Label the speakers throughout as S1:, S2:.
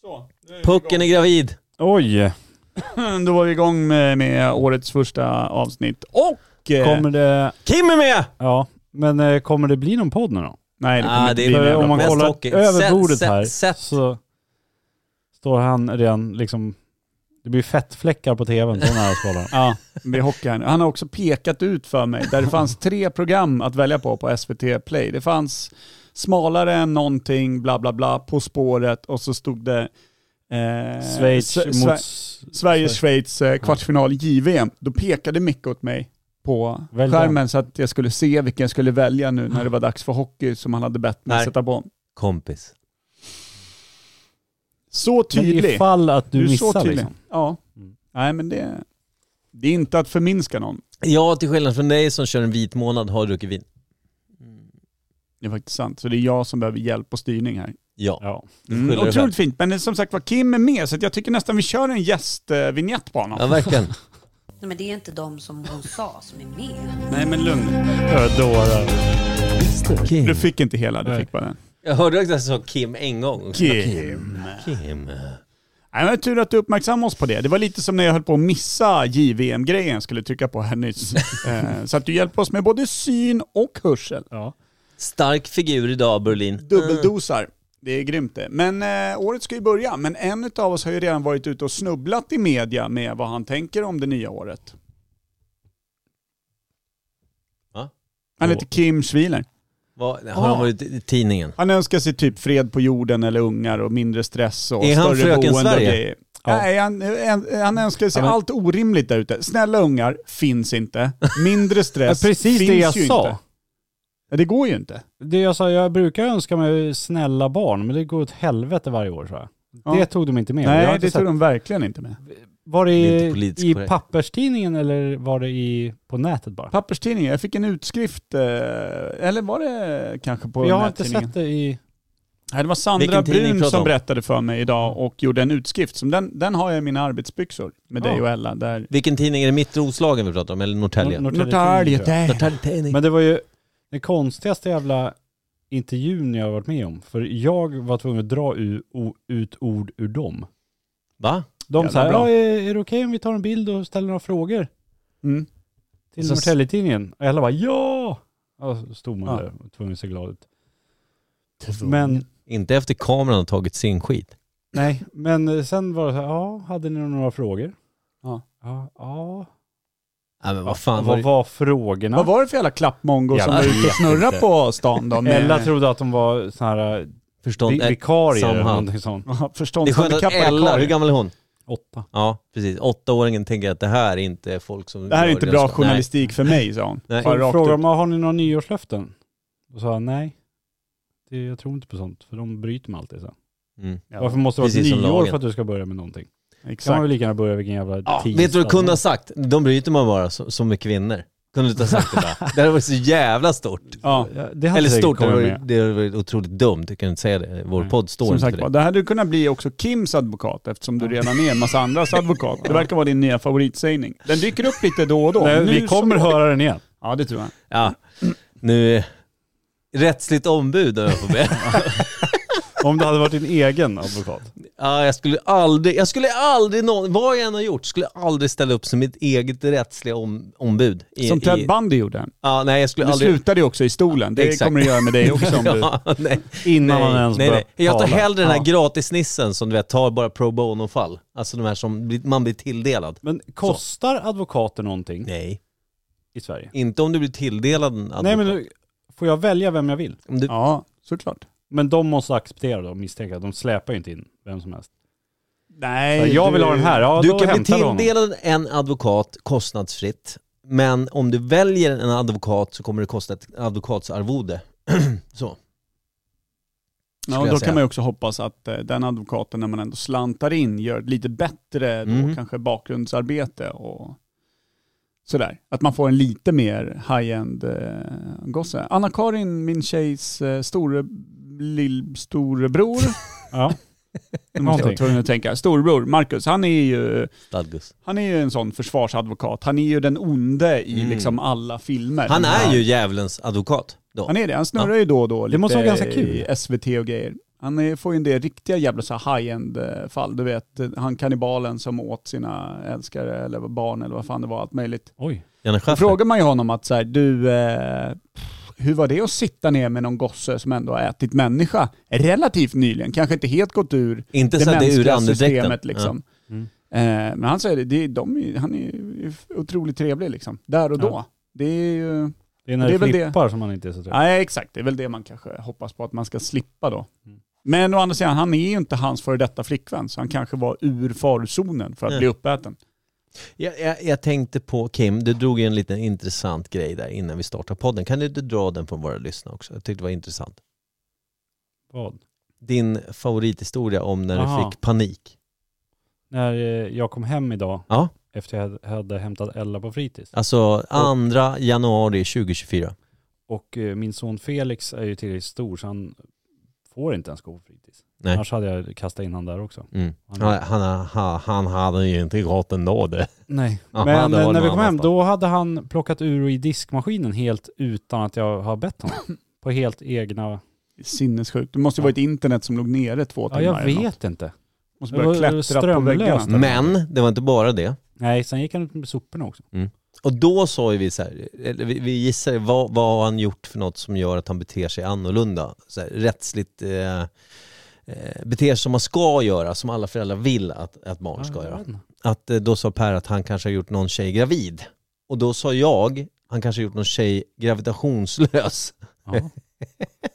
S1: Så, nu är vi
S2: Pucken är
S1: igång.
S2: gravid.
S3: Oj.
S1: Mm, Då var vi igång med, med årets första avsnitt. Och... eh,
S3: Kommer det...
S2: Kim är med!
S3: Ja. Men eh, kommer det bli någon podd nu då?
S1: Nej, det kommer
S2: Ah,
S1: inte
S2: det
S1: bli
S2: är
S1: någon
S2: väl
S3: För
S1: jävla
S3: om man
S2: mest
S1: podd.
S3: kollar
S2: hockey.
S3: över
S2: Sätt,
S3: bordet
S2: sätt,
S3: här
S2: sätt.
S3: så står han redan liksom... Det blir fettfläckar på tvn på den här skalan.
S1: Ja, vi hockey här nu. Han har också pekat ut för mig där det fanns tre program att välja på på SVT Play. Det fanns smalare än någonting, bla bla bla, På spåret och så stod det eh,
S3: Schweiz
S1: Sve-
S3: mot...
S1: Sve- Sverige-Schweiz eh, kvartsfinal JVM. Då pekade Micke åt mig på
S3: Välj den.
S1: skärmen så att jag skulle se vilken jag skulle välja nu när det var dags för hockey som han hade bett mig
S2: Nej.
S1: sätta på.
S2: Kompis.
S1: Så
S3: Men
S1: tydlig.
S3: ifall att du,
S1: är så
S3: missar
S1: tydlig.
S3: liksom.
S1: Ja.
S3: Mm.
S1: Nej men det, det är inte att förminska någon.
S2: Jag till skillnad från dig som kör en vit månad har druckit vin.
S1: Det är faktiskt sant. Så det är jag som behöver hjälp och styrning här.
S2: Ja.
S3: Ja.
S2: skyller
S1: Mm.
S2: dig själv.
S1: Otroligt fint. Men eh, som sagt var, Kim är med så att jag tycker nästan vi kör en gästvinjett på honom.
S2: Ja verkligen.
S4: Nej, men det är inte de som hon sa som är med.
S1: Nej men lugn.
S3: Dårar.
S1: Du fick inte hela, du
S3: Nej.
S1: fick bara den.
S2: Jag hörde också att jag sa Kim en gång.
S1: Kim.
S2: Kim.
S1: Nej, men tur att du uppmärksammade oss på det. Det var lite som när jag höll på att missa JVM-grejen jag skulle trycka på här nyss. eh, så att du hjälpte oss med både syn och hörsel.
S3: Ja.
S2: Stark figur idag Berlin.
S1: Dubbeldosar. Det är grymt det. Men eh, året ska ju börja, men en av oss har ju redan varit ute och snubblat i media med vad han tänker om det nya året.
S2: Va?
S1: Han heter Kim Schwiler.
S2: Vad- Har
S3: Ah.
S2: han varit i tidningen?
S1: Han önskar sig typ fred på jorden eller ungar och mindre stress och
S2: Är han
S1: större
S2: fröken
S1: boende
S2: Sverige?
S1: och grejer.
S3: Ja.
S1: Nej, han, en- han önskar sig
S3: Ja, men-
S1: allt orimligt där ute. Snälla ungar, finns inte. Mindre stress
S3: Ja, precis
S1: finns
S3: det jag
S1: ju
S3: sa.
S1: inte. Ja, det går ju inte.
S3: Det jag sa, jag brukar önska mig snälla barn, men det går åt helvete varje år tror jag.
S1: Ja.
S3: Det tog de inte med. jag har
S1: Nej,
S3: inte
S1: det
S3: sett-
S1: tror de verkligen inte med.
S3: Var det,
S2: Det är inte
S3: i,
S2: politiskt
S3: i
S2: korrekt.
S3: papperstidningen eller var det i, på nätet bara?
S1: Papperstidningen, jag fick en utskrift, eh, eller var det kanske på
S3: jag
S1: den
S3: har
S1: här
S3: inte
S1: tidningen?
S3: sett det i...
S1: Nej, det var Sandra
S2: Vilken tidning
S1: Brun
S2: pratar
S1: som
S2: om?
S1: berättade för mig idag
S3: Mm.
S1: och gjorde en utskrift. Som den, den har jag i mina arbetsbyxor med
S3: Ja.
S1: dig och Ella. Där.
S2: Vilken tidning? Är det Mitt Roslagen vi pratar om eller Norrtälje?
S3: Nor- Norrtälje
S1: Norrtälje.
S3: Tidning, tror
S1: där.
S2: Norrtälje Tidning.
S3: Men det var ju den konstigaste jävla intervjun jag har varit med om. För jag var tvungen att dra u, o, ut ord ur dem.
S2: Va?
S3: De
S1: Jävla
S3: sa
S1: bra.
S3: ja, är, är det okej om vi tar en bild och ställer några frågor
S1: Mm.
S3: till
S2: Så-
S3: Norrtäljetidningen? Och alla bara ja! Och så stod man
S1: Ja.
S3: där och tvungen att se glad ut. Men,
S2: Inte efter kameran har tagit sin skit.
S3: nej, men sen var det så här, ja, hade ni några frågor?
S1: Ja.
S3: Ja. ja.
S2: Nej men vad fan var
S3: Vad
S2: det?
S3: var frågorna?
S1: Vad var det för jävla klappmongo som
S3: Jävlar.
S1: var ute och snurrade på stan då? Med...
S3: Ella trodde att de var såna här eh,
S2: Förstånd?
S3: vi,
S2: Det
S3: vikarier eller
S2: Samhall.
S3: någonting sånt.
S1: Ja,
S2: är skönt att
S1: Förståndshandikappade
S2: Ella, hur
S1: karlar.
S2: gammal är hon?
S3: Åtta.
S2: Ja, precis. Åttaåringen tänker att det här är inte folk som...
S1: Det här är
S2: gör
S1: inte
S2: det
S1: bra
S2: de ska- Nej.
S1: journalistik för mig, sa hon.
S2: Nej.
S1: Bara rakt
S3: Frågade
S1: ut.
S3: om har ni några nyårslöften? Då sa jag nej. Det, jag tror inte på sånt, för de bryter man alltid sen.
S2: Mm.
S1: Ja,
S3: Varför måste det vara
S2: precis
S3: ett
S2: som
S3: nyår
S2: lagen.
S3: för att du ska börja med någonting? Kan man
S1: Exakt.
S3: väl lika gärna börja vilken jävla
S2: Ja,
S3: tisdag.
S2: vet du vad du kunde ha sagt? De bryter man bara som, som med kvinnor. Kunde du inte ha sagt det bara? Det hade varit så jävla stort.
S1: Ja.
S3: Ja, det hade
S2: Eller
S3: säkert
S2: stort, det
S3: kommit
S2: var,
S3: med.
S2: det var otroligt dumt. Jag kan inte säga det. Vår
S3: Nej.
S2: podd står
S1: Som
S2: inte
S1: sagt
S2: för
S1: var,
S2: det.
S1: det hade kunnat bli också Kims advokat eftersom du redan är en massa andras advokat. Det verkar vara din nya favoritsägning. Den dyker upp lite då och då.
S3: Nej,
S1: Nu
S3: vi kommer
S1: så...
S3: höra den igen.
S1: Ja, det tror jag.
S2: Ja. Nu, eh, rättsligt ombud om jag får be.
S3: Om det hade varit din egen advokat.
S2: Ja, jag skulle aldrig, jag skulle aldrig någon, vad jag än har gjort, skulle aldrig ställa upp som mitt eget rättsliga om, ombud. I,
S1: Som Ted
S2: i,
S1: Bundy gjorde.
S2: Ja, nej jag skulle
S1: Du
S2: aldrig...
S1: slutade ju också i stolen. Det
S2: Exakt.
S1: kommer du göra med dig också om du...
S2: Ja, nej.
S3: Innan
S2: Nej,
S3: man ens
S2: nej,
S3: börjar
S2: nej. Jag tar
S3: tala.
S2: hellre den här
S3: Ja.
S2: gratisnissen som du vet tar bara pro bono-fall. Alltså de här som blir- man blir tilldelad.
S3: Men kostar advokater någonting
S2: Nej.
S3: i Sverige?
S2: Inte om du blir tilldelad en advokat.
S3: Nej men nu får jag välja vem jag vill?
S2: Om du,
S1: Ja, såklart.
S3: Men de måste acceptera det och misstänka. De släpar ju inte in vem som helst.
S1: Nej,
S3: jag
S1: du-
S3: vill ha den här, ja
S2: du
S3: då
S2: kan bli
S3: hämtar vi honom.
S2: tilldelad en advokat kostnadsfritt, men om du väljer en advokat så kommer det kosta ett advokatsarvode. så.
S1: Ja,
S2: skulle
S1: och
S2: jag
S1: då
S2: säga.
S1: kan man ju också hoppas att eh, den advokaten, när man ändå slantar in, gör ett lite bättre då,
S2: Mhm.
S1: kanske bakgrundsarbete och sådär. Att man får en lite mer high-end eh, gosse. Anna-Karin, min tjejs eh, store, lill, storebror,
S3: Ja.
S1: nu måste jag vara
S3: Någonting.
S1: tvungen att tänka, storebror, Marcus, han är ju
S2: Stadgus.
S1: han är ju en sån försvarsadvokat. Han är ju den onde i
S2: Mm.
S1: liksom alla filmer.
S2: Han är ju djävulens advokat. Då.
S1: Han är det. Han snurrar ju då och då lite
S3: måste vara ganska
S1: i
S3: kul.
S1: SVT och grejer. Han är, får ju en del riktiga jävla så här high-end eh, fall. Du vet, eh, han kannibalen som åt sina älskare eller barn eller vad fan det var, allt möjligt.
S3: Oj.
S2: Janne
S1: Då
S2: Schaffer.
S1: frågar man ju honom att så här, du, eh, pff, hur var det att sitta ner med någon gosse som ändå har ätit människa relativt nyligen? Kanske inte helt gått ur
S2: Inte
S1: det,
S2: så att det är ur
S1: mänskliga
S2: andedräkten.
S1: systemet liksom.
S3: Ja. Mm.
S1: Eh, men han säger det, det är, de, är- han är ju otroligt trevlig liksom, där och då.
S3: Ja.
S1: Det är ju,
S3: Det är när
S1: Det
S3: det,
S1: är väl det.
S3: flippar som man inte är så trevlig.
S1: nej exakt, det är väl det man kanske hoppas på att man ska slippa då.
S3: Mm.
S1: Men å andra sidan, han är ju inte hans före detta flickvän, så han kanske var ur farozonen för att
S2: Nej.
S1: bli uppäten.
S2: Jag, jag, jag tänkte på Kim, du drog ju en liten intressant grej där innan vi startade podden. Kan du inte dra den för våra lyssnare också? Jag tyckte det var intressant.
S3: Vad?
S2: Din favorithistoria om när
S3: Aha.
S2: du fick panik.
S3: När eh, jag kom hem idag
S2: Ja.
S3: efter jag hade- hade hämtat Ella på fritids.
S2: Alltså 2 januari 2024.
S3: Och eh, min son Felix är ju tillräckligt stor så han får inte ens gå på fritids.
S2: Nej.
S3: Annars hade jag kastat in han där också.
S2: Mm.
S3: Han-
S2: Han, han, han, han hade ju inte gått ändå det.
S3: Nej,
S2: Ja, han
S3: men
S2: hade
S3: eh,
S2: varit
S3: när vi
S2: någon
S3: kom hem
S2: annanstans.
S3: då hade han plockat ur och i diskmaskinen helt utan att jag har bett honom. På helt egna...
S1: Sinnessjukt. Det måste ju varit internet som låg nere två
S3: Ja,
S1: timmar
S3: jag
S1: eller något.
S3: vet inte.
S1: Måste
S3: Det
S1: börja
S3: var- det var
S1: klättra på väggarna. Mm.
S3: strömlöst.
S2: Men det var inte bara det.
S3: Nej, sen gick han ut med soporna också.
S2: Och då sa ju vi så här, eller vi, vi gissade vad, vad har han gjort för något som gör att han beter sig annorlunda? Så här, rättsligt eh, eh, beter sig som man ska göra, som alla föräldrar vill att, att barn ska
S3: Ja, jag
S2: göra.
S3: vet inte.
S2: Att eh, då sa Per att han kanske har gjort någon tjej gravid. Och då sa jag, han kanske har gjort någon tjej gravitationslös.
S3: Ja.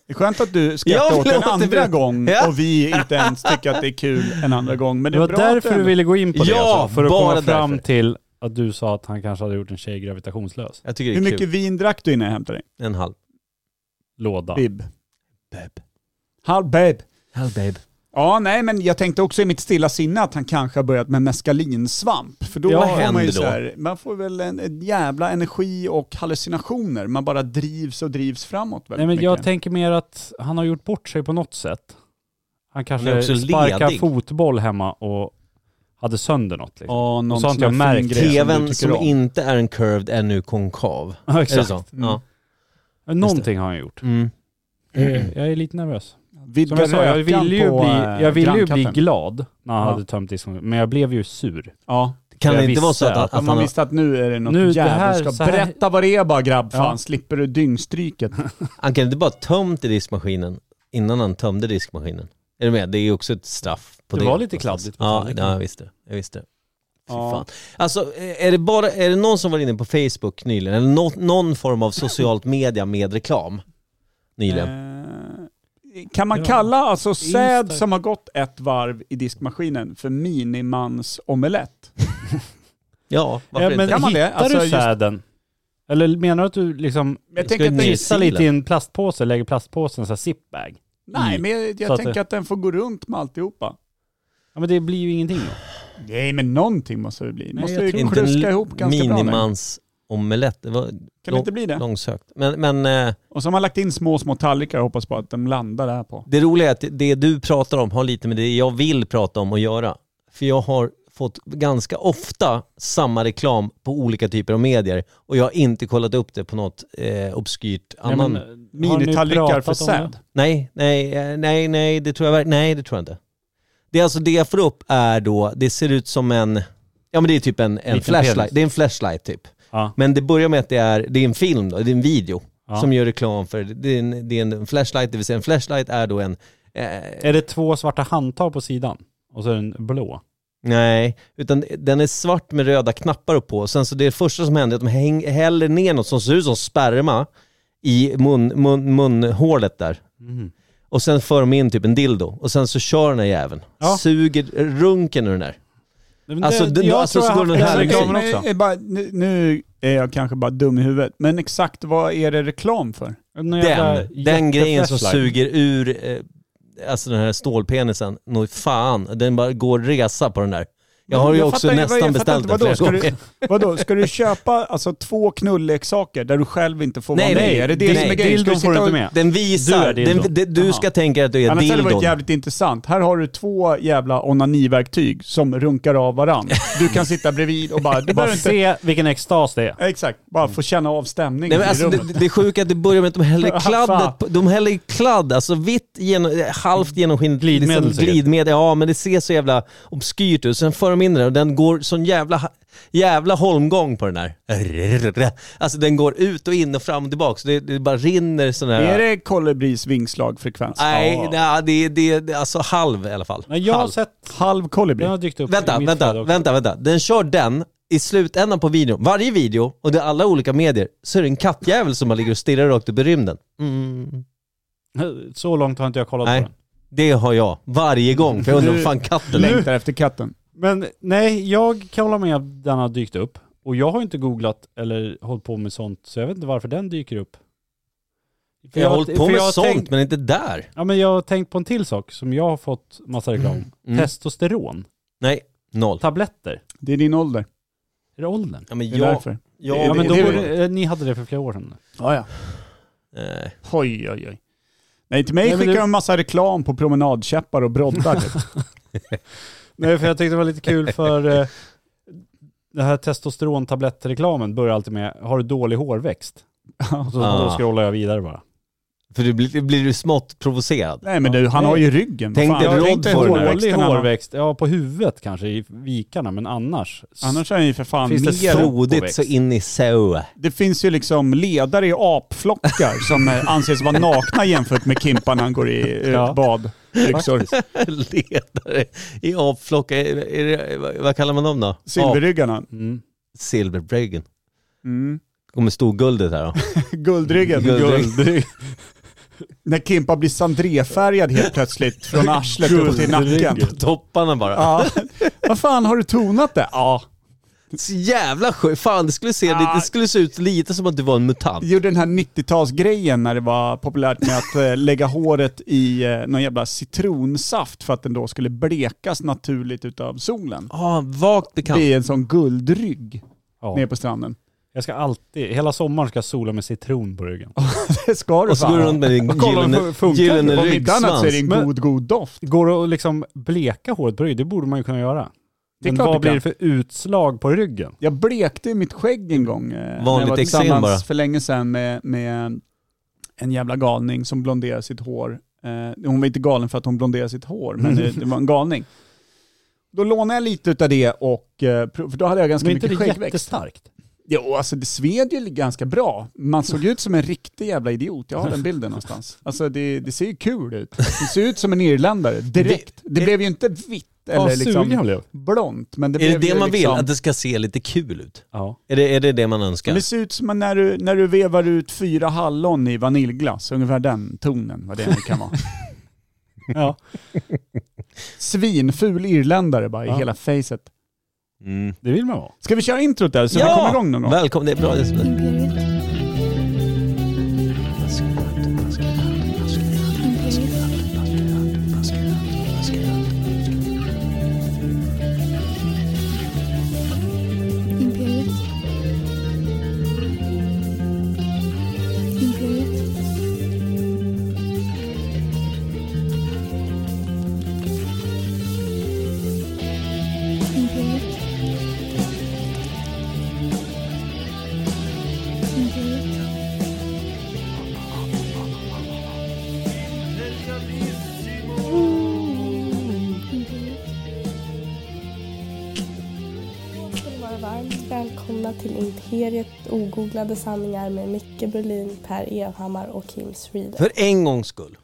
S1: Det är skönt att du skrattar
S2: Jag
S1: åt
S2: vill
S1: en andra
S2: återberätta.
S1: gång
S2: Ja.
S1: och vi inte ens tycker att det är kul en andra gång. Men det,
S3: Det var
S1: är bra att
S3: därför du
S1: ändå-
S3: ville gå in på det
S2: Ja,
S3: alltså, För att
S2: bara
S3: komma fram
S2: därför.
S3: till att du sa att han kanske hade gjort en tjej gravitationslös.
S2: Jag tycker det är
S1: Hur
S2: kul.
S1: mycket vin drack du innan jag hämtade dig?
S2: En halv.
S3: Låda.
S1: Bib.
S2: Babe.
S1: Halv babe.
S2: Halv babe.
S1: Ja, nej men jag tänkte också i mitt stilla sinne att han kanske har börjat med mescalinsvamp. För då
S2: Ja, vad
S1: har man ju
S2: händer
S1: så
S2: då?
S1: här, man får väl en, en jävla energi och hallucinationer. Man bara drivs och drivs framåt väldigt
S3: Nej men
S1: mycket.
S3: jag tänker mer att han har gjort bort sig på något sätt. Han
S2: Han är
S3: kanske
S2: också
S3: sparkar
S2: ledig.
S3: fotboll hemma och hade sönder något liksom.
S1: Ja, någon
S3: Och så har inte
S1: sån här
S3: jag
S1: fin
S3: märkt
S1: grej som du
S2: TVn
S1: tycker
S2: som
S1: om.
S2: inte är en curved är nu konkav.
S3: Ja,
S2: Är det
S3: exakt.
S2: så?
S1: Mm.
S2: Ja.
S3: Men Någonting har han gjort.
S2: Mm.
S3: Eh, Jag är lite nervös.
S1: Vidga
S3: Som jag sa, jag
S1: rökan
S3: ville ju
S1: på,
S3: bli,
S1: eh,
S3: jag ville ju bli
S1: grannkatten.
S3: glad när han
S1: Ja.
S3: hade tömt diskmaskinen, men jag blev ju sur.
S1: Ja,
S2: Kan
S3: Jag
S2: det inte vara så
S3: visste
S2: att, han- att
S3: att
S1: Om
S2: han
S1: man
S2: har
S1: visste att nu är det något
S3: Nu, det
S1: jävligt
S3: här-
S1: ska
S3: så här-
S1: Berätta vad det är bara grabb, fan.
S3: Ja.
S1: Slipper du dyngstryket.
S2: Han kan inte bara tömt i diskmaskinen innan han tömde diskmaskinen. Är du med? Det är ju också ett straff på
S3: Det
S2: det.
S3: var lite
S2: någonstans.
S3: kladdigt på
S2: Ja,
S3: tallriken.
S2: ja, jag visste det. Jag visste det. Fy
S1: Ja.
S2: Fan. Alltså, är det, bara, är det någon som var inne på Facebook nyligen, eller nå- någon form av socialt media med reklam nyligen?
S1: Eh, Kan man
S3: Ja.
S1: kalla alltså säd
S3: Insta-
S1: som har gått ett varv i diskmaskinen för minimans omelett?
S2: Ja,
S3: Ja,
S2: varför
S3: Eh, men
S2: inte?
S1: Kan man det?
S3: hittar
S1: Alltså,
S3: du
S1: just-
S3: säden? Eller menar du att du liksom
S1: Men jag
S2: Ska
S1: tänker att
S2: vi
S1: den,
S2: nyss-
S3: kissar lite i en plastpåse, lägger plastpåsen så här zipbag?
S2: Mm.
S1: nej, men jag,
S3: Så
S1: jag
S3: att
S1: tänker
S3: det-
S1: att den får gå runt med alltihopa.
S3: Ja men det blir ju ingenting då.
S1: Nej, men någonting måste det bli. Det måste
S3: jag
S1: ju
S3: tror-
S2: Inte en
S1: kluska
S2: l-
S1: ihop ganska bra. där.
S2: minimans omelett. Det var
S1: Kan det inte bli det?
S2: långsökt. Men, men eh,
S1: Och så har man lagt in små, små tallrikar och hoppas på att de landar där på.
S2: det roliga är att det du pratar om har lite med det jag vill prata om att göra. För jag har fått ganska ofta samma reklam på olika typer av medier och jag har inte kollat upp det på något eh, obskyrt
S3: Ja,
S2: annan...
S3: men, har ni
S1: Minitallrikar
S3: pratat
S1: för
S3: om det?
S1: säd.
S2: Nej, nej, eh, nej, nej, det tror jag verk- Nej, det tror jag inte. Det är alltså det jag får upp är då, det ser ut som en, ja men det är typ en, en
S3: Liten
S2: flashlight.
S3: penis.
S2: Det är en flashlight typ.
S3: Ja.
S2: Men det börjar med att det är, det är en film då, det är en video
S3: Ja.
S2: som gör reklam för, det är, en, det är en flashlight, det vill säga en flashlight är då en, eh,
S3: Är det två svarta handtag på sidan? Och så är den blå?
S2: Nej, utan den är svart med röda knappar upp på. Sen så det första som händer är att de häng, häller ner något som ser ut som sperma i mun, mun, munhålet där. Och sen för de in typ en dildo och sen så kör den här jäveln.
S3: Ja.
S2: Suger runken ur den där.
S3: Nej, men
S2: Alltså, den-
S3: jag
S2: alltså,
S3: tror
S2: så
S3: jag
S2: går
S3: har
S2: den
S3: haft
S2: här
S3: den
S2: liksom-
S3: reklamen
S1: Men,
S3: också.
S1: eh, bara, nu, nu är jag kanske bara dum i huvudet, men exakt vad är det reklam för?
S3: Någon jävla
S2: Den, den grejen som
S3: jätteflashlight.
S2: suger ur eh, alltså den här stålpenisen. Nå fan, den bara går resa på den där. Jag har ju
S1: Jag
S2: också
S1: fattar-
S2: nästan
S1: jag fattar
S2: beställt
S1: inte,
S2: den
S1: vadå,
S2: flera
S1: ska du-
S2: gånger.
S1: Vadå, ska du köpa alltså, två knulleksaker där du själv inte får
S2: Nej,
S1: vara med?
S2: nej,
S1: Är det det
S2: nej.
S1: som är grejen? Ska
S3: Dildon får
S1: sitta
S3: du inte
S1: och-
S3: med.
S2: Den
S3: Du
S2: visar.
S3: är
S2: Du,
S3: dildon.
S2: den, det- du
S1: Jaha.
S2: ska tänka att du är
S1: Annars hade det
S2: dildon.
S1: varit jävligt intressant. Här har du två jävla onaniverktyg som runkar av varandra. Du kan sitta bredvid och bara... Du
S3: Bara
S1: behöver inte...
S3: se vilken extas det är.
S1: Exakt, bara få känna av
S2: Nej,
S1: stämningen
S2: men
S1: i
S2: alltså,
S1: rummet.
S2: det, det sjuka är att det börjar med att de
S3: Ah,
S2: häller kladdet, på- de häller kladd, alltså vitt, genom, halvt genomskinligt
S3: Glidmedel
S2: liksom,
S3: säkert.
S2: glidmedel. Ja, men det ser så jävla obskyrt ut. Sen för de in den och den går sån jävla, jävla holmgång på den här. Alltså den går ut och in och fram och tillbaka. Så det, det bara rinner sån här...
S1: Är det kolibris vingslagfrekvens?
S2: Nej,
S3: Ja.
S2: nej det, det, det, alltså halv i alla fall.
S3: Nej, jag har
S2: halv.
S3: sett,
S1: Halv kolibri?
S3: den har dykt upp
S2: Vänta,
S3: i mitt flöde
S2: vänta,
S3: också.
S2: vänta, vänta. Den kör den i slutändan på videon. Varje video, och det är alla olika medier, så är det en kattjävel som bara ligger och stirrar rakt upp i rymden. Mm.
S3: Så långt har inte jag kollat
S2: Nej.
S3: på den.
S2: Det har jag varje gång, för jag undrar om fan katten är.
S1: Längtar efter katten.
S3: Men nej, jag kan hålla med att den har dykt upp. Och jag har inte googlat eller hållit på med sånt, så jag vet inte varför den dyker upp. För
S2: Jag har hållit på
S3: för
S2: med
S3: jag har
S2: sånt,
S3: tänkt-
S2: men inte där.
S3: Ja men jag har tänkt på en till sak som jag har fått massa reklam om.
S2: Mm.
S3: Testosteron,
S2: Nej, noll.
S3: tabletter.
S1: Det är din ålder.
S3: Är det åldern?
S2: Ja, men
S1: Det är
S2: jag...
S1: därför.
S2: jag
S1: Ja,
S3: Ja men
S1: det-
S3: då
S1: det-
S3: borde, eh, ni hade det för flera år sedan.
S1: Ja, ja.
S2: Nej.
S1: Oj, oj, oj. Nej, till mig
S3: Nej, men
S1: skickar
S3: det-
S1: de en massa reklam på promenadkäppar och broddar.
S3: Nej för jag tyckte det var lite kul för eh, det här testosterontablettreklamen börjar alltid med, har du dålig hårväxt? Och så
S2: Ah.
S3: då scrollar jag vidare bara.
S2: För du blir, blir du smått provocerad.
S1: Nej men du, han
S3: Nej.
S1: har ju ryggen.
S2: Tänk
S1: Vad
S2: dig
S1: fan,
S2: Rod
S1: tänk dig
S2: får den här
S3: Dålig
S1: hårväxten han har.
S3: hårväxt, ja på huvudet kanske i vikarna men annars.
S1: Annars är han ju för fan
S3: Finns det
S1: mer...
S3: så-
S1: Det,
S2: Frodigt så in i så.
S1: finns ju liksom ledare i apflockar som eh, anses vara nakna jämfört med Kimpa när han går i eh,
S3: Ja.
S1: bad. Byxor.
S2: Ledare i apflockar. Är, är det, vad- vad kallar man dem då? Ap-
S1: Silverryggarna.
S3: Mm.
S2: Silverbryggen.
S1: Mm.
S2: Kommer storguldet här då.
S1: Guldryggen.
S2: Guldrygg.
S1: När Kimpa blir sandrefärgad helt plötsligt från arslet upp till nacken.
S3: Guldryggen.
S2: Topparna bara.
S1: Ja. Vad fan, har du tonat det? Ja.
S2: Så jävla skönt. Fan det skulle, se, det, det skulle se ut lite som att du var en mutant.
S1: gjorde den här 90-talsgrejen när det var populärt med att eh, lägga håret i eh, någon jävla citronsaft för att den då skulle blekas naturligt utav solen.
S2: Ja, vagt bekant.
S1: Det är en sån guldrygg
S3: Ja.
S1: nere på stranden.
S3: Jag ska alltid, hela sommaren ska jag sola med citron på ryggen.
S1: Det ska du
S2: Och så går du runt med din
S1: Och kolla om
S2: gyllene,
S1: det funkar.
S2: gyllene
S1: Om inte annat så är det
S2: ryggsvans.
S1: en
S3: Men-
S1: god, god doft.
S3: Går det att liksom bleka håret på ryggen? Det borde man ju kunna göra.
S1: Det är
S3: Men
S1: klart
S3: vad
S1: du
S3: blir
S1: kan.
S3: det för utslag på ryggen?
S1: Jag blekte mitt skägg en gång. eh, när jag
S2: Vanligt
S1: var
S2: eksem
S1: tillsammans
S2: bara.
S1: för länge sedan med, med en jävla galning som blonderade sitt hår. Eh, hon var inte galen för att hon blonderade sitt hår, men det, det var en galning. Då lånade jag lite utav det och, eh, pro- för då hade jag ganska
S3: Men inte det
S1: mycket skäggväxt.
S3: jättestarkt?
S1: Jo, alltså det sved ju ganska bra. Man såg ut som en riktig jävla idiot. Jag har den bilden någonstans. Alltså det, det ser ju kul ut. Det ser ut som en irländare direkt. Det, blev ju inte vitt
S3: Eller
S1: eller
S3: Vad sugen jag
S1: liksom
S3: blev.
S1: blont. Men det
S2: Är det
S1: blev
S2: det
S1: ju
S2: man vill?
S1: liksom,
S2: Att det ska se lite kul ut?
S3: Ja.
S2: Är det är det, det man önskar?
S1: Det ser ut som när du, när du vevar ut fyra hallon i vaniljglass. Ungefär den tonen, vad det nu kan vara.
S3: ja.
S1: Svinful irländare bara i
S3: Ja.
S1: hela facet.
S2: Mm.
S3: Det vill man vara.
S1: Ska vi köra introt där så vi kommer igång Mm. någon gång?
S2: Välkommen, det är bra. Det är bra.
S5: Imperiet. Imperiet. Imperiet. Imperiet. Imperiet.
S6: ska ni vara varmt välkomna till Imperiet ogooglade sanningar med Micke Berlin, Per Evhammar och Kim Sweden.
S2: För en gångs skull.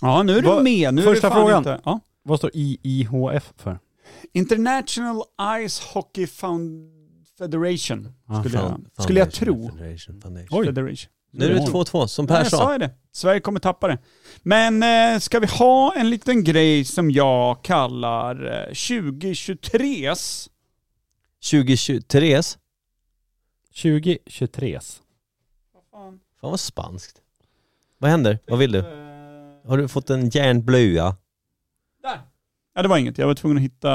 S1: Ja, nu är du
S3: Vad-
S1: med. Nu
S3: första
S1: är du fan
S3: frågan.
S1: Inte, ja.
S3: Vad står IIHF för?
S1: International Ice Hockey Found Federation
S3: Ah,
S1: skulle,
S2: Fan-
S1: jag, skulle jag
S2: Foundation,
S1: tro.
S2: Foundation, Foundation.
S3: Oj.
S1: Federation.
S2: Nu är det 2-2, som Per
S1: Jag sa
S2: sa.
S1: ju det. Sverige kommer tappa det. Men eh, ska vi ha en liten grej som jag kallar eh, 2023s
S2: 2023. Fan
S3: 2023.
S2: vad spanskt. Vad händer? Vad vill
S1: Eh,
S2: du? Har du fått en järnblöja?
S1: Där! Ja, det var inget. Jag var tvungen att hitta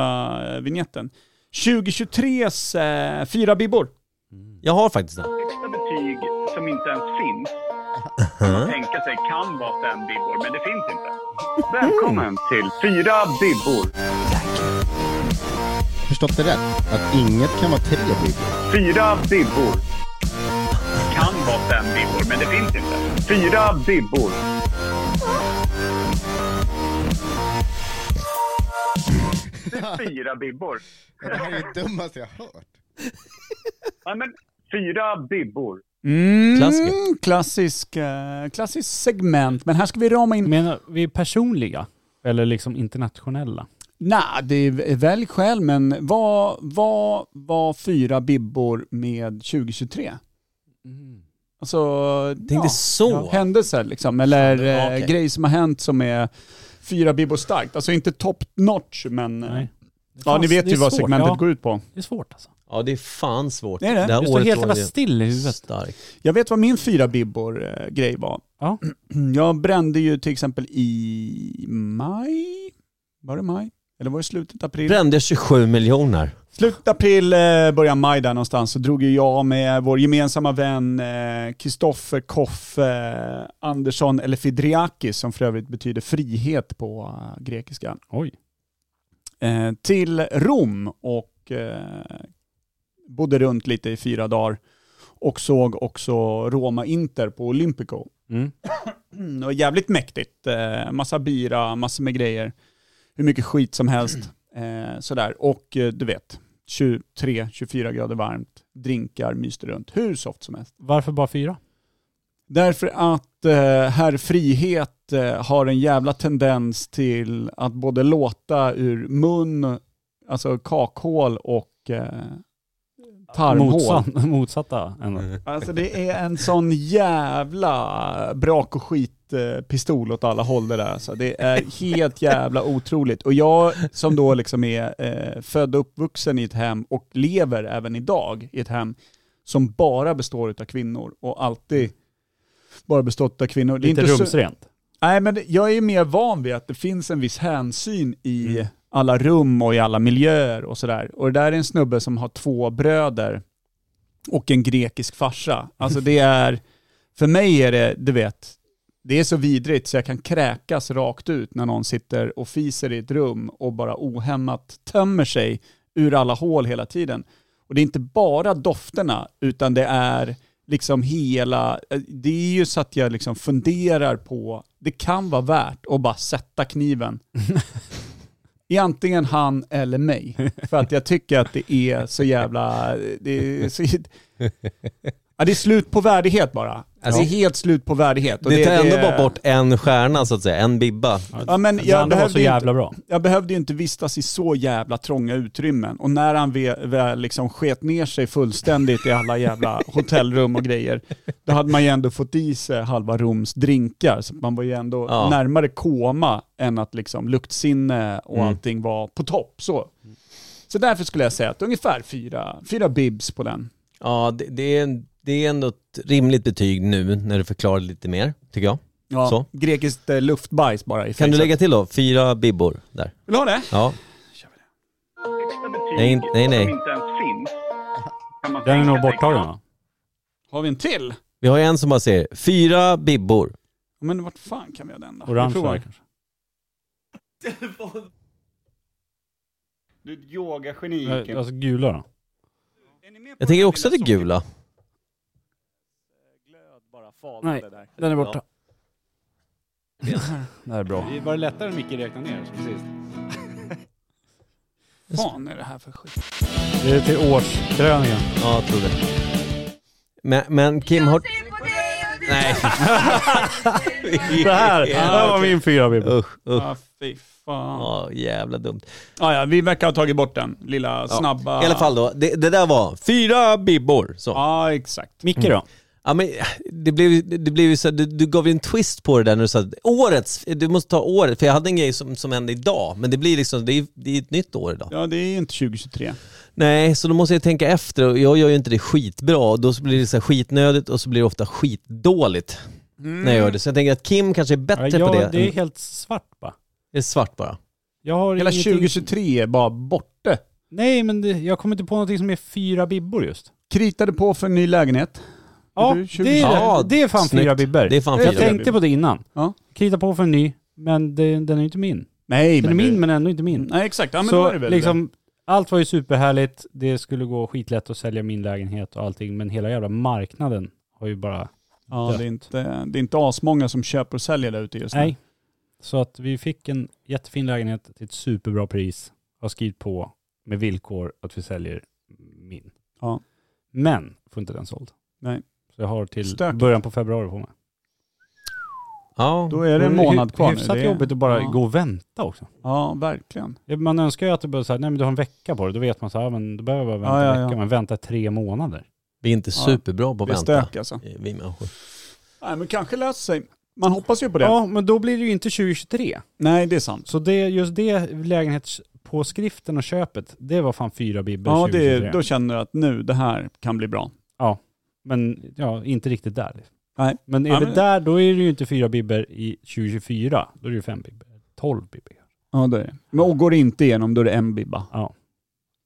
S1: eh, vignetten. 2023s eh, fyra bibbor.
S2: Jag har faktiskt den.
S1: Mm.
S7: högsta betyg som inte ens finns. Kan man tänka sig kan vara fem bibbor, men det finns inte. Välkommen till Fyra bibbor.
S8: Förstått det rätt? Att inget kan vara tre bibbor.
S7: Fyra bibbor. Kan vara fem bibbor, men det finns inte. Fyra bibbor. Fyra bibbor.
S8: Det här är det dummaste jag har hört.
S7: Ja, men fyra bibbor.
S1: Mm,
S2: Klassiker.
S1: Klassisk, eh, klassisk segment, men här ska vi rama in...
S3: Menar vi personliga? Eller liksom internationella?
S1: Nej, det är välj själv, men vad var, var fyra bibbor med 2023?
S2: Mm.
S1: Alltså,
S2: Tänkte
S1: ja,
S2: så.
S1: ja, händelser liksom, eller
S2: Ja,
S1: eh,
S2: okej.
S1: grejer som har hänt som är fyra bibbor starkt. Alltså inte top notch, men... eh,
S3: Nej.
S1: Ja, ni vet
S3: Det
S1: ju
S3: är
S1: vad
S3: svårt,
S1: segmentet
S3: ja.
S1: går ut på.
S3: Det är svårt alltså.
S2: Ja, det är fan svårt.
S1: Det är det.
S2: här
S3: Du står
S2: året
S3: helt
S2: var
S3: jävla
S2: det
S3: still i huvudet.
S2: starkt.
S1: Jag vet vad min fyra bibbor-grej var.
S3: Ja.
S1: Jag brände ju till exempel i maj, var det maj? Eller var det slutet april?
S2: Brände 27 miljoner.
S1: Slutet april, eh, början maj där någonstans så drog ju jag med vår gemensamma vän eh, Kristoffer Koff eh, Andersson, eller Fidriakis som för övrigt betyder frihet på eh, grekiska,
S3: Oj.
S1: eh, till Rom och eh, bodde runt lite i fyra dagar och såg också Roma-Inter på Olympico.
S3: Mm.
S1: Mm, det var jävligt mäktigt. Eh, massa bira, massor med grejer. Hur mycket skit som helst. Eh, sådär. Och eh, du vet, 23-24 grader varmt. Drinkar, myste runt. Hur soft som helst.
S3: Varför bara fyra?
S1: Därför att eh, herr Frihet eh, har en jävla tendens till att både låta ur mun, alltså kakhål och eh, tarmhål.
S3: Motsatt, motsatta
S2: Mm.
S3: ändå.
S1: Alltså det är en sån jävla brak och skit eh, pistol åt alla håll det där. Alltså det är helt jävla otroligt. Och jag som då liksom är eh, född och uppvuxen i ett hem och lever även idag i ett hem som bara består av kvinnor och alltid bara bestått av kvinnor. Det är
S3: Lite
S1: inte så-
S3: rumsrent.
S1: Nej, men det- jag är mer van vid att det finns en viss hänsyn i alla rum och i alla miljöer och sådär. Och det där är en snubbe som har två bröder och en grekisk farsa. Alltså det är, för mig är det, du vet, det är så vidrigt så jag kan kräkas rakt ut när någon sitter och fiser i ett rum och bara ohämmat tömmer sig ur alla hål hela tiden. Och det är inte bara dofterna, utan det är liksom hela... eh, Det är ju så att jag liksom funderar på, det kan vara värt att bara sätta kniven i antingen han eller mig. För att jag tycker att det är så jävla... Det är, så, ja, det är slut på värdighet bara.
S2: Alltså-
S1: det är helt slut på värdighet. Och
S2: Det tar ändå
S1: det-
S2: bara bort en stjärna så att säga, en bibba.
S1: Ja, men
S3: det
S1: jag
S3: andra var så
S1: behövde, ju inte,
S3: jävla bra.
S1: jag behövde ju inte vistas i så jävla trånga utrymmen. Och när han ve- väl liksom sket ner sig fullständigt i alla jävla hotellrum och grejer, då hade man ju ändå fått i sig halva Roms drinkar. Så man var ju ändå
S2: Ja.
S1: närmare koma än att liksom luktsinne och
S2: Mm.
S1: allting var på topp. Så. så därför skulle jag säga att ungefär fyra, fyra bibs på den.
S2: Ja, det, det, är, det är ändå ett rimligt betyg nu när du förklarar lite mer, tycker jag.
S1: Ja,
S2: Så.
S1: Grekiskt eh, luftbajs bara i
S2: Kan du
S1: fejset.
S2: lägga till då, fyra bibbor där?
S1: Vill du ha det?
S2: Ja,
S7: Högsta betyg
S2: Nej, nej, nej.
S7: som inte ens finns. Kan man
S3: Den är
S7: tänka
S3: nog
S7: sig
S3: borttagen
S7: kan-
S3: va?
S1: Har vi en till?
S2: vi har ju en som bara säger, fyra bibbor.
S1: Men vart fan kan vi ha den då? Vi
S3: Orange
S1: provar.
S3: där kanske.
S1: Du är ett yogageni.
S3: Eh, Alltså gula då?
S2: Jag tänker också att det är gula.
S3: Nej, den är borta. Det här är bra.
S1: Var det lättare än Micke räkna ner? Precis. fan är det här för skit?
S3: Det är till årskrönikan.
S2: Ja, jag tror det. Men, men Kim, har... Nej.
S3: Det här, det här var min fyra bibbor.
S2: Usch, usch.
S1: Ja, Ah, fy fan. Ja.
S2: Ja, jävla dumt.
S1: Ah, ja, vi verkar ha tagit bort den lilla
S2: Ja.
S1: snabba...
S2: I alla fall då, det, det där var fyra bibbor. Så. Ja.
S1: Ja, exakt.
S3: Micke då?
S2: men det blev, det blev ju så, du, du gav ju en twist på det där när du sa att årets, du måste ta året, för jag hade en grej som, som hände idag, men det blir liksom, det är, det är ett nytt år idag.
S1: Ja, det är ju inte 2023.
S2: Nej, så då måste jag tänka efter och jag gör ju inte det skitbra och då så blir det så här skitnödigt och så blir det ofta skitdåligt när jag gör det. Så jag tänker att Kim kanske är
S3: Mm. Ja,
S2: bättre på det.
S3: jag, det är
S2: än-
S3: helt svart va?
S2: det är svart bara.
S3: Jag har
S1: Hela
S3: ingenting-
S1: 2023 är bara borta.
S3: Nej, men det, jag kommer inte på någonting som är fyra bibbor just.
S1: Kritade på för en ny lägenhet.
S3: Ja,
S1: du,
S3: det
S1: 20?
S3: är, det.
S2: Ja,
S3: det är fan
S2: snyggt.
S3: fyra bibbor.
S2: Det är fan
S3: jag
S1: fyra
S3: tänkte
S1: bibbor.
S3: på det innan.
S1: Ja.
S3: Krita på för en ny, men det, den är ju inte min.
S1: Nej,
S3: Den är
S1: men...
S3: min
S1: du-
S3: men ändå inte min.
S1: Nej, exakt. Ja, men då är
S3: så
S1: det väl det.
S3: liksom, allt var ju superhärligt. Det skulle gå skitlätt att sälja min lägenhet och allting, men hela jävla marknaden har ju bara...
S1: Ja, det är inte, det är inte asmånga som köper och säljer där ute just nu.
S3: Nej. Så att vi fick en jättefin lägenhet till ett superbra pris. Har skrivit på med villkor att vi säljer min.
S1: Ja.
S3: Men, får inte den såld.
S1: Nej.
S3: Så jag har till
S1: Stökigt.
S3: början på februari på mig.
S2: Ja.
S1: Då är det en månad kvar nu.
S3: Hyfsat
S1: Det är-
S3: jobbigt att bara
S1: ja.
S3: gå och vänta också.
S1: Ja, verkligen.
S3: Man önskar ju att det bara så här, nej men du har en vecka på dig. Då vet man så här, ja, men då behöver jag bara
S1: Ja,
S3: vänta
S1: ja,
S3: en
S1: ja.
S3: vecka. Men vänta tre månader.
S2: Vi är inte
S1: Ja.
S2: superbra på
S1: Det är
S2: att vänta.
S1: stök alltså.
S2: Vi människor.
S1: Nej, men kanske löser sig. Man hoppas ju på det.
S3: Ja, men då blir det ju inte 2023.
S1: Nej, det är sant.
S3: Så det, just det lägenhetspåskriften och köpet, det var fan fyra bibbor
S1: Ja, det,
S3: 2023.
S1: är- då känner du att nu, det här kan bli bra.
S3: Men ja, inte riktigt där. liksom.
S1: Nej.
S3: Men är
S1: Ja,
S3: det
S1: men-
S3: där, då är det ju inte fyra bibbor i 2024. Då är det ju fem bibbor. Tolv bibbor.
S1: Ja, det är det. Men och går det inte igenom, då är det en bibba.
S3: Ja.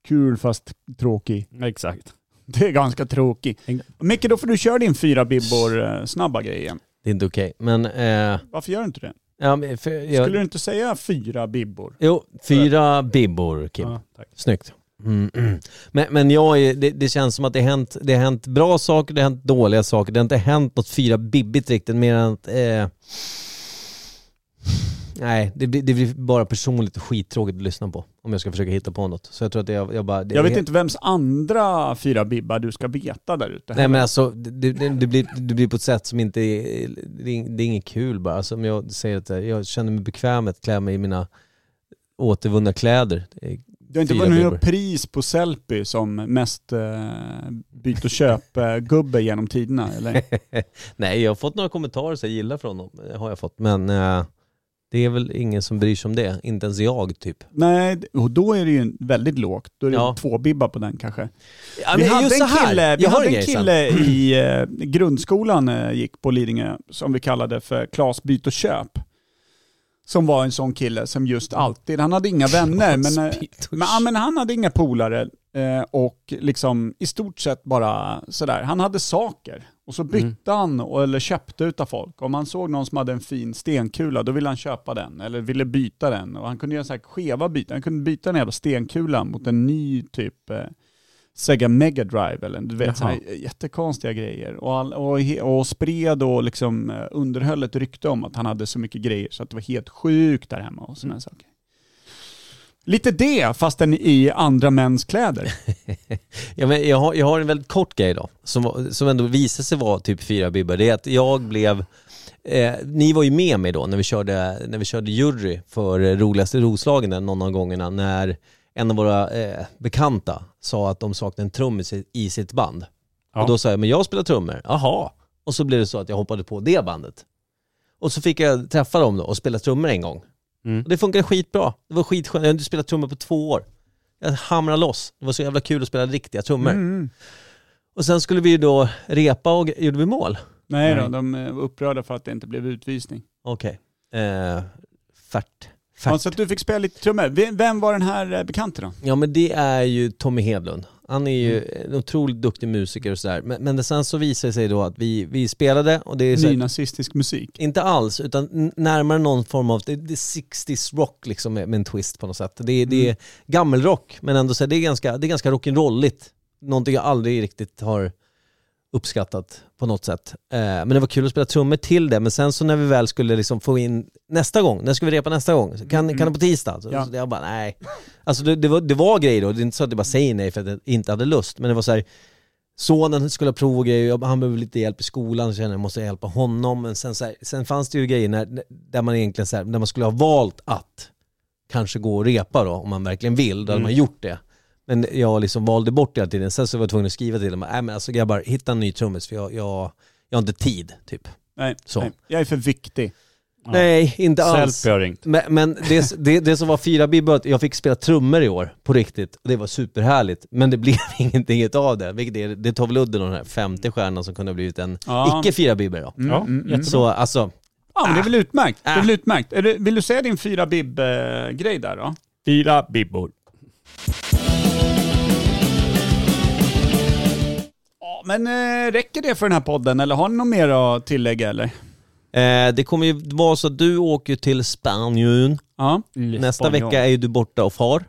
S1: Kul fast tråkig.
S3: Mm. Exakt.
S1: Det är ganska tråkig.
S3: En-
S1: Micke, då får du köra din fyra bibbor eh, snabba grej igen.
S2: Det är inte okej. Men, eh,
S1: Varför gör du inte det?
S2: ja, men för, jag,
S1: Skulle du inte säga fyra bibbor?
S2: Jo, fyra bibbor Kim.
S3: Ja, tack.
S2: Snyggt. Mm. Men, men jag är, det, det känns som att det har, hänt, det har hänt bra saker, det har hänt dåliga saker. Det har inte hänt något fyra bibbigt riktigt mer än att... Eh, nej, det, blir- det blir bara personligt och skittråkigt att lyssna på. Om jag ska försöka hitta på något. Så jag tror att jag, jag bara... Det,
S1: Jag vet inte vems andra fyra bibbar du ska veta där ute.
S2: Nej men alltså, det, det, det, blir, det blir på ett sätt som inte är... Det, är- det är inget kul bara. Alltså, om jag säger att jag känner mig bekväm med att klä mig i mina återvunna kläder. Det är-
S1: Du har inte
S2: fyra
S1: vunnit
S2: bibbor.
S1: något pris på Sellpy som mest eh, byt och köp-gubbe genom tiderna eller?
S2: Nej, jag har fått några kommentarer som jag gillar från dem. Det har jag fått. Men eh, det är väl ingen som bryr sig om det. Inte ens jag typ.
S1: Nej, och då är det ju väldigt lågt. Då är det
S2: Ja.
S1: två bibbar på den kanske.
S2: Ja,
S1: vi
S2: men
S1: hade
S2: just
S1: en
S2: så här.
S1: kille, vi
S2: jag har
S1: hade
S2: en
S1: en
S2: grej sen.
S1: kille i eh, grundskolan, eh, gick på Lidingö, som vi kallade för Klas byt och köp. Som var en sån kille som just alltid, han hade inga vänner, men, eh, men, ja, men han hade inga polare eh, och liksom i stort sett bara sådär, han hade saker. Och
S2: Mm.
S1: så bytte han och, eller köpte utav folk. Om han såg någon som hade en fin stenkula, då ville han köpa den eller ville byta den. Och han kunde göra så här skeva byten. Han kunde byta den jävla stenkulan mot en ny typ eh, Sega Mega Drive eller du vet
S3: Jaha.
S1: sådana jättekonstiga grejer. Och, all, och, he- och spred och liksom eh, underhöll ett rykte om att han hade så mycket grejer så att det var helt sjukt där hemma och
S2: Mm.
S1: sådana saker. Lite det, fastän i andra mäns kläder.
S2: Ja, men jag, har, jag har en väldigt kort grej då, som, var- som ändå visade sig vara typ fyra bibbar. Det är att jag blev, eh, ni var ju med mig då när vi körde, när vi körde jury för eh, roligaste Roslagen där någon av gångerna när en av våra eh, bekanta sa att de saknade en trummis i- i sitt band.
S3: Ja.
S2: Och då sa jag, men jag spelar trummor, jaha. Och så blev det så att jag hoppade på det bandet. Och så fick jag träffa dem då och spela trummor en gång.
S3: Mm.
S2: Och det funkade skitbra. Det var skitskönt. Jag hade inte spelat trummor på två år. Jag hamrade loss. Det var så jävla kul att spela riktiga trummor.
S1: Mm.
S2: Och sen skulle vi ju då repa och gjorde vi mål?
S1: Nej då,
S3: Nej.
S1: de eh, var upprörda för att det inte blev utvisning.
S2: Okej. Eh, färt.
S1: Ja,
S2: Färt.
S1: så Alltså att du fick spela lite trummor. V- Vem var den här eh, bekanta då?
S2: Ja men det är ju Tommy Hedlund. Han är ju
S1: Mm.
S2: en otroligt duktig musiker och sådär. Men, men det sen så visade det sig då att vi, vi spelade och det är så här,
S1: Nynazistisk musik.
S2: Inte alls, utan n- närmare någon form av, det, det är 60s rock liksom med, med en twist på något sätt. Det, är- det är gammelrock, men ändå så här, det är ganska, det är ganska rock'n'rolligt. Någonting jag aldrig riktigt har uppskattat på något sätt. Eh, men det var kul att spela trummor till det, men sen så när vi väl skulle liksom få in nästa gång, när ska vi repa nästa gång? Så Kan, kan det på tisdag? Så,
S1: Ja.
S2: så jag bara nej. Alltså det, det, var, det var grejer då, det är inte så att jag bara säger nej för att jag inte hade lust, men det var så här, sonen skulle ha prov och grejer, jag- han behöver lite hjälp i skolan, så kände jag, jag måste hjälpa honom. Men sen, så här, sen fanns det ju grejer när, där man egentligen så här, när man skulle ha valt att kanske gå och repa då, om man verkligen vill, då hade man gjort det. Men jag liksom valde bort det hela tiden, sen så var jag tvungen att skriva till dem, nej men alltså grabbar, hitta en ny trummis för jag, jag, jag har inte tid, typ.
S1: Nej,
S2: Så.
S1: nej, jag är för viktig.
S2: Nej, inte alls.
S3: Selfie har ringt.
S2: Men, men det, det, det som var fyra bibbor, att jag fick spela trummor i år på riktigt och det var superhärligt. Men det blev ingenting av det, vilket är, det tar väl udden av den här femte stjärnan som kunde ha blivit en
S1: Ja.
S2: icke fyra bibbor då.
S1: Mm,
S3: Ja,
S1: mm, mm.
S3: jättebra.
S2: Så alltså,
S1: Ja, men det är väl utmärkt. Det är
S2: Ah.
S1: väl utmärkt. Är eh, det, vill du säga din fyra bibb-grej där då?
S3: Fyra bibbor.
S1: men eh, räcker det för den här podden eller har ni något mer att tillägga eller?
S2: Eh, det kommer ju vara så att du åker ju till Spanien.
S1: Ja.
S2: Nästa vecka är ju du borta och far.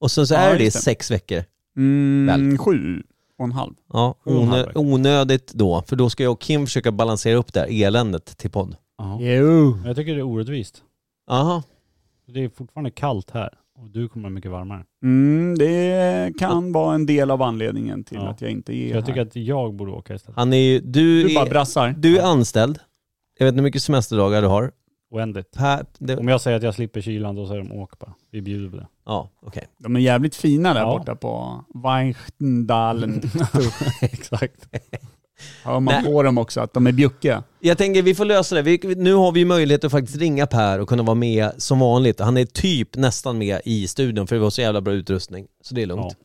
S2: Och sen så
S1: Ja,
S2: är det i
S1: just det.
S2: sex veckor.
S1: Mm,
S2: Väl.
S1: sju och en halv.
S2: Ja,
S3: Sju och en halv
S2: onö-
S3: vecka.
S2: onödigt då, för då ska jag och Kim försöka balansera upp det här eländet till podd.
S3: Ja.
S1: Jo.
S3: Men Jag tycker det är orättvist.
S2: Aha.
S3: Det är fortfarande kallt här och du kommer mycket varmare.
S1: Mm, det kan vara en del av anledningen till
S3: Ja.
S1: att jag inte är
S3: Så jag tycker
S1: här.
S3: att jag borde åka istället.
S2: Han är ju, du,
S1: Du bara
S2: är,
S1: brassar.
S2: du är anställd. Jag vet inte hur mycket semesterdagar du har.
S3: Oändligt.
S2: Per, det,
S3: Om jag säger att jag slipper kylan då säger de åk bara. Vi bjuder på det.
S2: ja, okej.
S1: De är jävligt fina där
S3: Ja.
S1: borta på Weichendalen.
S3: Exakt.
S1: Hör man
S2: Mm. Nej.
S1: på dem också att de är bjuckiga.
S2: Jag tänker vi får lösa det. Vi, nu har vi ju möjlighet att faktiskt ringa Per och kunna vara med som vanligt. Han är typ nästan med i studion för vi har så jävla bra utrustning. Så det är lugnt.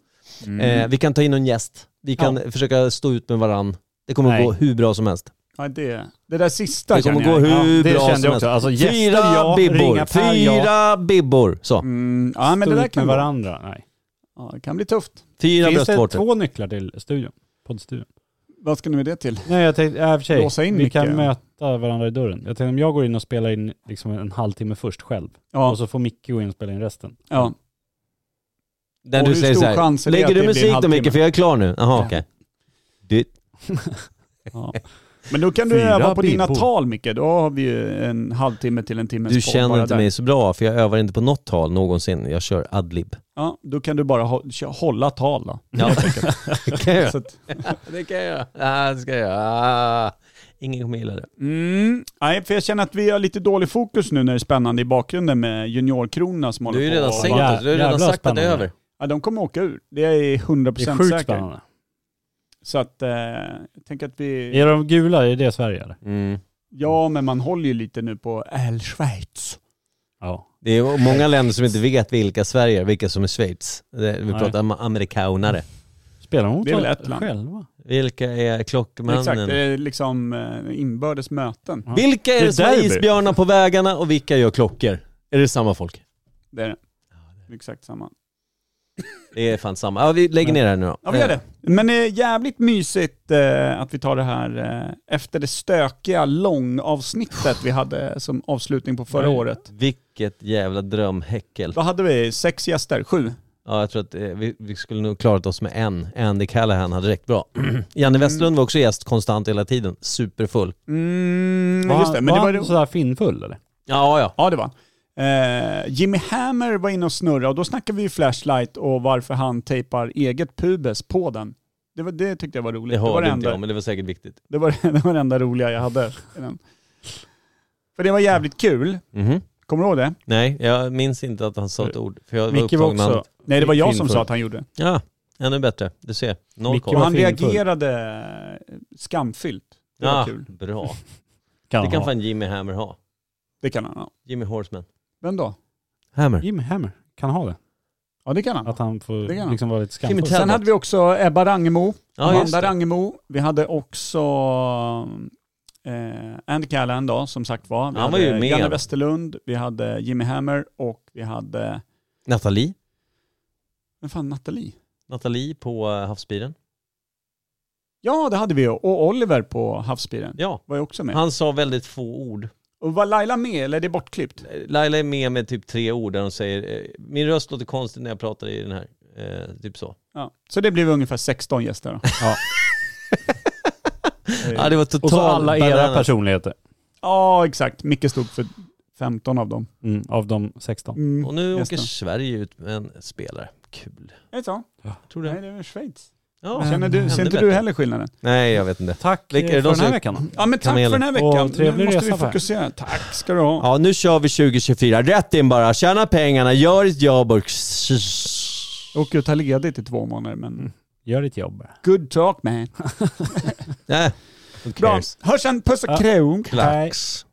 S1: Mm.
S2: Eh, vi kan ta in någon gäst. Vi kan försöka stå ut med varann. Det kommer
S3: Nej.
S2: att gå hur bra som helst.
S1: Ja, det, det där sista
S2: Det kommer
S1: känner
S2: att gå
S1: jag.
S2: hur
S3: det
S2: bra
S3: kände
S2: som
S3: jag
S2: helst.
S3: också. Alltså, gäster,
S2: Fyra
S3: ja.
S2: bibbor.
S3: Ringa Per, ja.
S2: Fyra bibbor. Så.
S1: Mm, ja, men det där kan,
S3: med
S1: vara,
S3: varandra. Nej.
S1: ja, det kan bli tufft.
S2: Fyra
S3: Finns det
S2: bröstvårtor.
S3: två nycklar till studion? Poddstudion?
S1: Vad ska ni med det till?
S3: Nej jag tänkte, äh, för sig,
S1: Låsa in
S3: vi
S1: mycket.
S3: kan möta varandra i dörren. Jag tänkte om jag går in och spelar in liksom en halvtimme först själv.
S1: Ja,
S3: Och så får Micke gå in och spela in resten.
S1: ja.
S2: Där
S1: Och
S2: du
S1: hur
S2: säger
S1: stor
S2: så här,
S1: chans är det
S2: lägger
S1: att
S2: du
S1: det blir en
S2: musik då
S1: halvtimme?
S2: Micke för jag är klar nu? Jaha okej. Du-
S1: ja. Men då kan du
S3: Fyra
S1: öva på dina
S3: bibbor.
S1: tal Micke. Då har vi ju en halvtimme till en timme.
S2: Du känner inte mig så bra för jag övar inte på något tal någonsin. Jag kör adlib.
S1: Ja, då kan du bara hå- kö- hålla tal då.
S2: Ja, det kan jag
S1: Så att,
S2: Det kan jag göra. Ah, det ska jag göra. Ah, ingen kommer gilla det.
S1: mm, nej, för jag känner att vi har lite dålig fokus nu när det är spännande i bakgrunden med juniorkronorna som
S2: Du har
S1: håller
S2: ju
S1: på.
S2: redan
S1: och-
S2: sänkt
S3: jä-
S2: oss. Du har ju redan
S3: jävla
S2: sagt att det är
S3: spännande.
S2: över.
S1: Ja, de kommer åka ur. Det är 100%
S3: Det är sjukt
S1: säkert.
S3: spännande.
S1: Så att, eh, jag tänker att vi...
S3: Är de gula, är det Sverige eller?
S2: Mm.
S1: Ja, men man håller ju lite nu på El Schweiz.
S3: Ja.
S2: Det är många länder som inte vet vilka Sverige är, vilka som är Schweiz. Det- Vi
S3: Nej.
S2: pratar am- amerikanare.
S3: Spelar de mot
S1: Det är väl
S3: varandra
S1: ett land.
S3: själva?
S2: Vilka är
S1: Exakt, det
S2: klockmannen?
S1: är liksom eh, inbördes möten.
S2: Vilka är
S3: Det
S2: det
S3: är
S2: som har
S3: derby.
S2: isbjörnar på vägarna och vilka gör klockor? Är det samma folk?
S1: Det är det. Exakt samma.
S2: Det är fan samma. Ja, vi lägger ner det här nu då.
S1: Ja, vi gör det. Men eh, jävligt mysigt eh, att vi tar det här eh, efter det stökiga långavsnittet vi hade som avslutning på förra
S3: Nej.
S1: året.
S2: Vilket jävla drömhäckel.
S1: Vad hade vi? Sex gäster? Sju?
S2: Ja, jag tror att eh, vi, vi skulle nog klarat oss med en. Andy Callahan hade räckt bra. Janne Westlund var också gäst konstant hela tiden. Superfull.
S1: Mm,
S3: Var
S1: just det. Men
S3: han-
S1: det
S3: var
S1: var
S3: han
S1: ju...
S3: sådär finfull eller?
S2: Ja, ja.
S1: Ja, det var eh, Jimmy Hammer var inne och snurrade och då snackade vi ju Flashlight och varför han tejpar eget pubes på den. Det, var, det tyckte jag var roligt.
S2: Det
S1: var
S2: hörde inte
S1: enda-
S2: jag, men det var säkert viktigt.
S1: Det var det var det enda roliga jag hade. i den. För det var jävligt kul.
S2: Mhm.
S1: Kommer du ihåg det?
S2: Nej, jag minns inte att han sa ett ord. För jag var
S3: Micke var
S2: upptagen med
S3: också...
S2: annat.
S1: Nej, det var jag som
S3: Finfull.
S1: sa att han gjorde.
S2: Ja, ännu bättre. Du ser. Noll
S3: Micke
S1: Och
S2: koll.
S3: var-
S1: han
S3: finfull.
S1: reagerade eh, skamfyllt. Det var
S2: Ja,
S1: kul.
S2: Ah, bra.
S3: Kan
S2: Det kan
S3: ha.
S2: fan Jimmy Hammer ha.
S1: Det kan han ha.
S2: Jimmy Horseman.
S1: Vem då?
S2: Hammer.
S3: Jimmy Hammer kan ha det.
S1: Ja, det kan han.
S3: Att han
S1: Det kan
S3: får
S1: han.
S3: liksom vara lite
S2: Jimmy
S3: skamfull.
S2: Tell-
S1: Sen hade vi också Ebba Rangemo,
S2: Ja, just
S1: Amanda
S2: det.
S1: Rangemo. Vi hade också eh, Andy Callahan då, som sagt var. Vi
S2: Han var
S1: hade
S2: ju med.
S1: Janne Westerlund, vi hade Jimmy Hammer och vi hade,
S2: Nathalie.
S1: vem fan, Nathalie?
S2: Nathalie på eh, Havsbiren.
S1: Ja, det hade vi ju. Och Oliver på Havsbiren
S2: Ja.
S1: var ju också med.
S2: Han sa väldigt få ord.
S1: Och var Laila med eller är det bortklippt?
S2: Laila är med med typ tre ord där hon säger eh, min röst låter konstigt när jag pratar i den här. Eh, typ så.
S1: Ja. Så det blev ungefär 16 gäster då.
S3: Ja.
S2: Ja, det var totalt
S3: Och så alla era
S2: bananas.
S3: personligheter.
S1: Ja, exakt. Micke stod för 15 av dem.
S3: Mm, av de 16.
S1: Mm.
S2: Och nu
S1: Just
S2: åker
S1: det.
S2: Sverige ut med en spelare. Kul.
S1: Är det så?
S2: Tror
S1: Nej, det är väl Schweiz.
S2: Ja,
S1: Känner
S2: ännu
S1: du, ser inte
S2: bättre.
S1: du heller skillnaden?
S2: Nej, jag vet inte.
S3: Tack
S2: Vilka är
S3: eh,
S2: det de
S3: för den här
S2: ser-
S3: veckan.
S1: Ja, men tack
S2: Kamelen.
S1: för den här
S3: Och
S1: veckan. nu
S3: trevlig
S1: måste
S3: resa,
S1: vi
S3: Per.
S1: fokusera. Tack ska du ha.
S2: Ja, nu kör vi 2024. Rätt in bara. Tjäna pengarna, gör ditt jobb och...
S1: Jag åker och tar ledigt i två månader, men
S3: Gör ditt jobb bara.
S1: good talk man.
S2: Nej, who
S1: Bra.
S2: cares?
S1: Hörs sen. Puss
S3: Ja.
S1: och krog.
S2: Klax.